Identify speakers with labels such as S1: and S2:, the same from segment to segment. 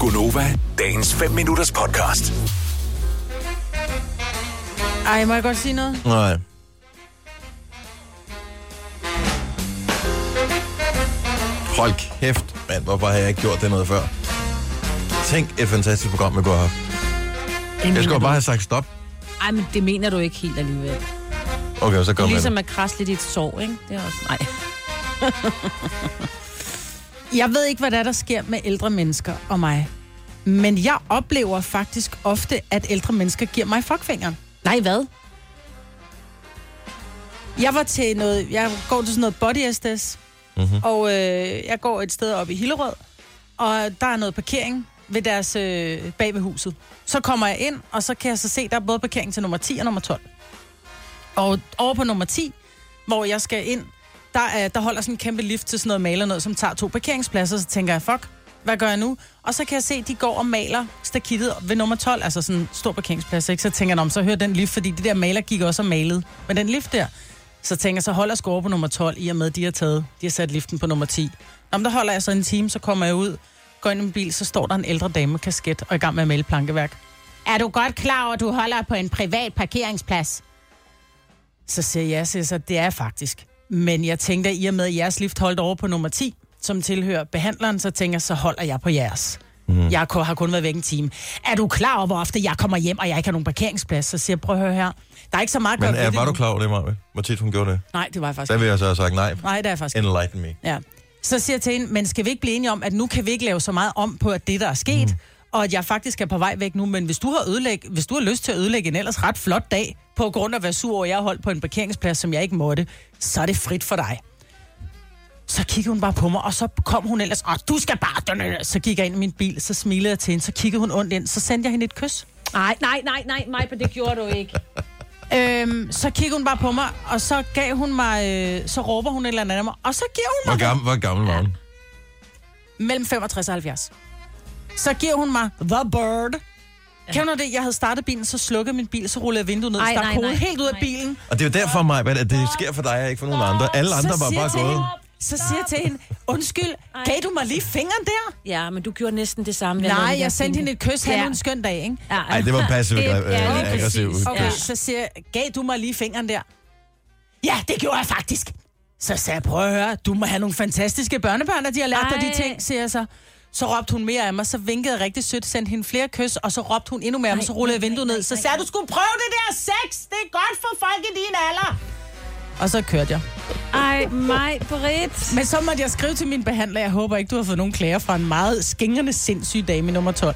S1: Gunova, dagens 5 minutters podcast.
S2: Ej, må jeg godt sige noget?
S3: Nej. Hold kæft, mand. Hvorfor har jeg ikke gjort det noget før? Tænk et fantastisk program, vi kunne have haft.
S2: Det
S3: Jeg skulle
S2: mener
S3: bare
S2: du.
S3: have sagt stop.
S2: Ej, men det mener du ikke helt alligevel.
S3: Okay, så
S2: Kom
S3: kom ligesom...
S2: ligesom at krasse lidt i et sår, ikke? Det er også... Nej. jeg ved ikke, hvad der, er, der sker med ældre mennesker og mig. Men jeg oplever faktisk ofte, at ældre mennesker giver mig fuckfingeren.
S4: Nej, hvad?
S2: Jeg var til noget... Jeg går til sådan noget body SDS. Mm-hmm. Og øh, jeg går et sted op i Hillerød. Og der er noget parkering ved deres øh, bag ved huset. Så kommer jeg ind, og så kan jeg så se, der er både parkering til nummer 10 og nummer 12. Og over på nummer 10, hvor jeg skal ind, der, er, der holder sådan en kæmpe lift til sådan noget maler noget, som tager to parkeringspladser, så tænker jeg, fuck, hvad gør jeg nu? Og så kan jeg se, at de går og maler stakittet ved nummer 12, altså sådan en stor parkeringsplads, ikke? Så tænker jeg, "Nå, men så hører den lift, fordi de der maler gik også og malede. Men den lift der, så tænker jeg, så holder jeg sgu over på nummer 12, i og med, at de har taget, de har sat liften på nummer 10. Nå, men der holder jeg så en time, så kommer jeg ud, går ind i min bil, så står der en ældre dame med kasket og er i gang med at male plankeværk. Er du godt klar over, at du holder på en privat parkeringsplads? Så siger jeg, ja, siger jeg så det er jeg faktisk. Men jeg tænkte, at i og med, at jeres lift holdt over på nummer 10, som tilhører behandleren, så tænker jeg, så holder jeg på jeres.
S3: Mhm.
S2: Mm. Jeg ko- har kun været væk en time. Er du klar over, hvor ofte jeg kommer hjem, og jeg ikke har nogen parkeringsplads? Så siger jeg, prøv at høre her. Der er ikke så meget at
S3: Men
S2: gøre ved
S3: er,
S2: det
S3: var
S2: nu.
S3: du klar over det, Marve? Hvor tit hun gjorde det?
S2: Nej, det var jeg faktisk
S3: Der
S2: ikke.
S3: vil jeg så have sagt nej.
S2: Nej, det er jeg faktisk ikke.
S3: Enlighten me.
S2: Ja. Så siger jeg til hende, men skal vi ikke blive enige om, at nu kan vi ikke lave så meget om på, at det, der er sket, mm. og at jeg faktisk er på vej væk nu, men hvis du, har ødelæg, hvis du har lyst til at ødelægge en ellers ret flot dag, på grund af at være sur over, at jeg har holdt på en parkeringsplads, som jeg ikke måtte, så er det frit for dig. Så kiggede hun bare på mig, og så kom hun ellers, og du skal bare... Så gik jeg ind i min bil, så smilede jeg til hende, så kiggede hun ondt ind, så sendte jeg hende et kys.
S4: Nej, nej, nej, nej, Majpa, det gjorde du ikke.
S2: Øhm, så kiggede hun bare på mig, og så gav hun mig, øh, så råber hun et eller andet af mig, og så giver hun mig
S3: Hvor gammel, hvor gammel var hun?
S2: mellem 65 og 70. Så giver hun mig The Bird. Kan du det? Jeg havde startet bilen, så slukkede min bil, så rullede jeg vinduet ned,
S4: Ej,
S2: stak
S4: nej,
S2: hovedet
S4: nej,
S2: helt ud af
S4: nej.
S2: bilen.
S3: Og det er jo derfor, Maja, at det sker for dig og ikke for nogen andre. Alle andre
S2: så
S3: var
S2: siger jeg
S3: bare
S2: til
S3: gået.
S2: hende, så siger jeg til hende, undskyld, gav du mig lige fingeren der?
S4: Ja, men du gjorde næsten det samme. ved at lave
S2: Nej,
S4: det der
S2: jeg sendte
S4: fine.
S2: hende et kys,
S4: Ja.
S2: han en skøn dag, ikke?
S4: Ja,
S3: Ej, det var passivt
S4: Det-
S3: øh,
S4: ja, lige
S3: aggressivt.
S4: præcis.
S2: Okay,
S4: Ja.
S2: så siger jeg, gav du mig lige fingeren der? Ja, det gjorde jeg faktisk. Så sagde jeg, prøv at høre, du må have nogle fantastiske børnebørn, og de har lært dig
S4: Ej.
S2: de ting, siger jeg så. Så råbte hun mere af mig, så vinkede jeg rigtig sødt, sendte hende flere kys, og så råbte hun endnu mere af mig, så rullede jeg vinduet ned. Så sagde jeg, du skulle prøve det der sex, det er godt for folk i din alder. Og så kørte jeg.
S4: Ej, mig, Britt.
S2: Men så måtte jeg skrive til min behandler, jeg håber ikke, du har fået nogen klager fra en meget skængende sindssyg dame i nummer 12.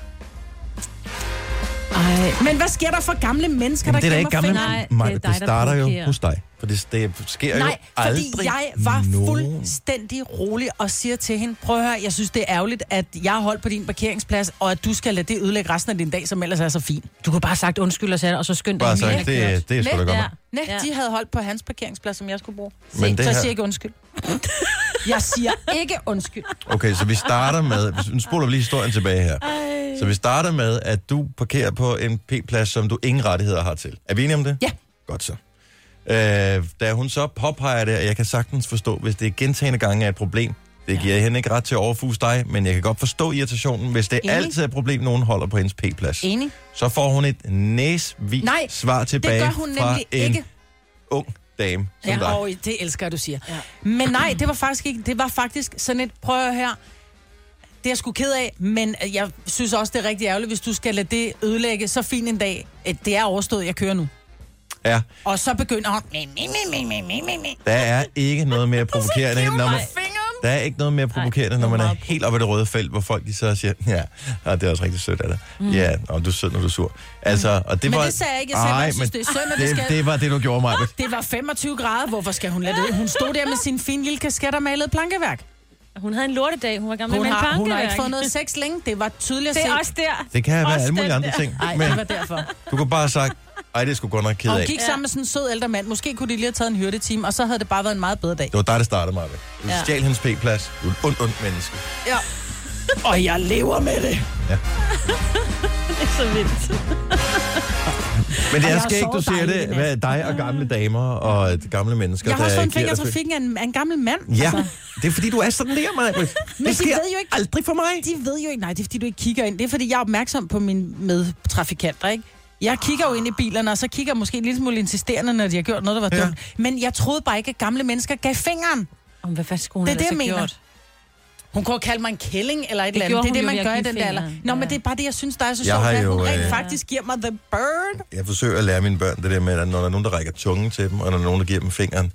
S4: Ej,
S2: Men hvad sker der for gamle mennesker,
S3: Jamen, det er
S2: der
S3: da ikke
S2: gemmer
S3: gammel.
S2: fingre?
S4: Nej, det er
S3: Maja,
S4: dig,
S3: det
S4: der
S3: starter jo
S4: provokerer.
S3: hos dig. For det, det sker jo
S2: Nej,
S3: aldrig
S2: fordi jeg var
S3: nogen.
S2: fuldstændig rolig og siger til hende, prøv at høre, jeg synes, det er ærgerligt, at jeg har holdt på din parkeringsplads, og at du skal lade det ødelægge resten af din dag, som ellers er så fin.
S4: du kunne bare have sagt undskyld og sætte, og så skynd dig.
S3: Bare
S4: hjem.
S3: sagt, det, det er sgu da godt.
S4: Ja.
S3: nok.
S2: Nej,
S4: Ja.
S2: ja. de havde holdt på hans parkeringsplads, som jeg skulle bruge.
S3: Men
S2: Men
S3: det
S2: det så
S3: her-
S2: siger jeg ikke undskyld. jeg siger ikke undskyld.
S3: Okay, så vi starter med... Nu spoler vi lige historien tilbage her. Så vi starter med, at du parkerer på en P-plads, som du ingen rettigheder har til. Er vi enige om det?
S2: Ja.
S3: Godt så. Øh, da hun så påpeger det, og jeg kan sagtens forstå, hvis det er gentagende gange er et problem, det giver hende ikke ret til at overfuse dig, men jeg kan godt forstå irritationen, hvis det
S2: Enig.
S3: altid er et problem, nogen holder på hendes P-plads.
S2: Enig.
S3: Så får hun et næsvis
S2: Nej,
S3: svar tilbage
S2: Det gør hun
S3: fra
S2: nemlig
S3: en
S2: ikke.
S3: ung dame som
S2: Ja,
S3: dig.
S2: og det elsker jeg, du siger. Ja. Men nej, det var faktisk ikke. Det var faktisk sådan et prøv her. Det er jeg sgu ked af, men jeg synes også, det er rigtig ærgerligt, hvis du skal lade det ødelægge så fin en dag. at Det er overstået, jeg kører nu.
S3: Ja,
S2: Og så begynder hun... "Men, men,
S3: der er ikke noget mere provokerende, end når man, Der er ikke noget mere provokerende, når man er helt oppe i det røde felt, hvor folk de så siger, ja, og det er også rigtig sødt af dig. Mm. Ja, og du er sød, når du er sur. Altså, og
S2: Mm.
S3: det
S2: Men
S3: var,
S2: det sagde jeg ikke. Jeg sagde, bare, jeg synes,
S3: men
S2: det er synd, at vi
S3: det,
S2: skal-
S3: det var det, du gjorde mig.
S2: Det var 25 grader. Hvorfor skal hun lade det? ud? Hun stod der med sin fine lille kasket og malede plankeværk.
S4: Hun havde en lortedag, hun var gammel
S2: Hun
S4: med en
S2: har, hun har
S4: plankeværk.
S2: ikke fået noget sex længe. Det var tydeligt
S4: Det
S2: at
S4: er
S2: se.
S4: også der.
S3: Det kan være
S4: Også
S3: alle mulige
S4: den
S3: andre
S4: der.
S3: ting,
S2: Nej, det
S3: men
S2: var derfor.
S3: du kunne bare have sagt, ej, det skulle godt nok ked
S2: Og hun
S3: af.
S2: gik sammen med sådan en sød ældre mand. Måske kunne de lige have taget en hyrdetime, og så havde det bare været en meget bedre dag.
S3: Det var dig, der startede mig. Du
S2: Ja.
S3: stjal hendes p-plads. Du er et ondt, ondt menneske.
S2: Ja. og jeg lever med det.
S4: Så vildt.
S3: Men det
S2: jeg
S3: er
S2: har
S3: skægt, du
S2: sovet
S3: siger
S2: dejligt i
S3: det.
S2: nat.
S3: Hvad, dig og gamle damer og øh, gamle mennesker,
S2: Jeg har også
S3: der
S2: fået en
S3: giver
S2: finger i
S3: dig fri-
S2: trafikken af en, af en gammel mand.
S3: Ja,
S2: Altså,
S3: det er fordi, du er sådan der, Maja.
S2: de
S3: Det sker
S2: ved jo ikke-
S3: aldrig for mig.
S2: de ved jo ikke, nej, det er fordi, du ikke kigger ind. Det er fordi, jeg er opmærksom på mine medtrafikanter, ikke? Jeg kigger jo ind i bilerne, og så kigger jeg måske en lille smule insisterende, når de har gjort noget, der var
S3: Ja.
S2: ja. dumt. Men jeg troede bare ikke, at gamle mennesker gav fingeren.
S4: Om hvad fanden skulle hun
S2: Det er det,
S4: ellers
S2: jeg mener.
S4: have gjort?
S2: Hun kunne have kaldt mig en kælling eller et eller andet. Det er
S4: gjorde hun
S2: det,
S4: jo
S2: man
S4: ved at
S2: gør i
S4: give
S2: den der alder.
S4: fingeren.
S2: Nå,
S4: Ja.
S2: men det er bare det, jeg synes, der er så
S3: Jeg
S2: sjovt,
S3: har
S2: at
S3: jo,
S2: hun
S3: øh,
S2: rent faktisk giver mig the bird.
S3: Jeg forsøger at lære mine børn det der med, at når der er nogen, der rækker tungen til dem, og når der er nogen, der giver dem fingeren,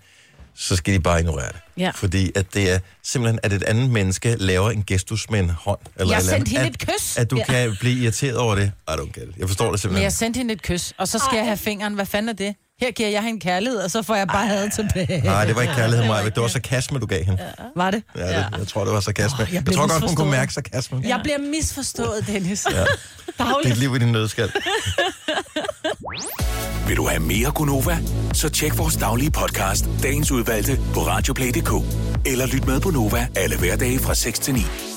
S3: så skal de bare ignorere det.
S4: Ja.
S3: Fordi at det er simpelthen, at et andet menneske laver en gestus med en hånd. Eller
S2: Jeg
S3: et eller
S2: sendte
S3: andet.
S2: hende et kys.
S3: At, at du
S2: Ja.
S3: kan blive irriteret over det. I don't get it. Jeg forstår det
S2: Men
S3: simpelthen.
S2: jeg sendte hende et kys, og så skal jeg have fingeren. Hvad fanden er det? Her giver jeg hende kærlighed, og så får jeg bare had tilbage.
S3: Nej, det var ikke kærlighed, Maja. Det var sarkasme, du gav hende.
S2: Var det?
S3: Ja, det, jeg tror, det var sarkasme.
S2: Åh, jeg
S3: jeg,
S2: blev
S3: tror godt, hun kunne
S2: misforstået.
S3: mærke sarkasmen.
S2: Jeg bliver misforstået, Dennis. Ja.
S3: Det er et liv i din nødskal.
S1: Vil du have mere Gunova? Så tjek vores daglige podcast, dagens udvalgte, på radioplay.dk. Eller lyt med på Nova alle hverdage fra 6 til 9.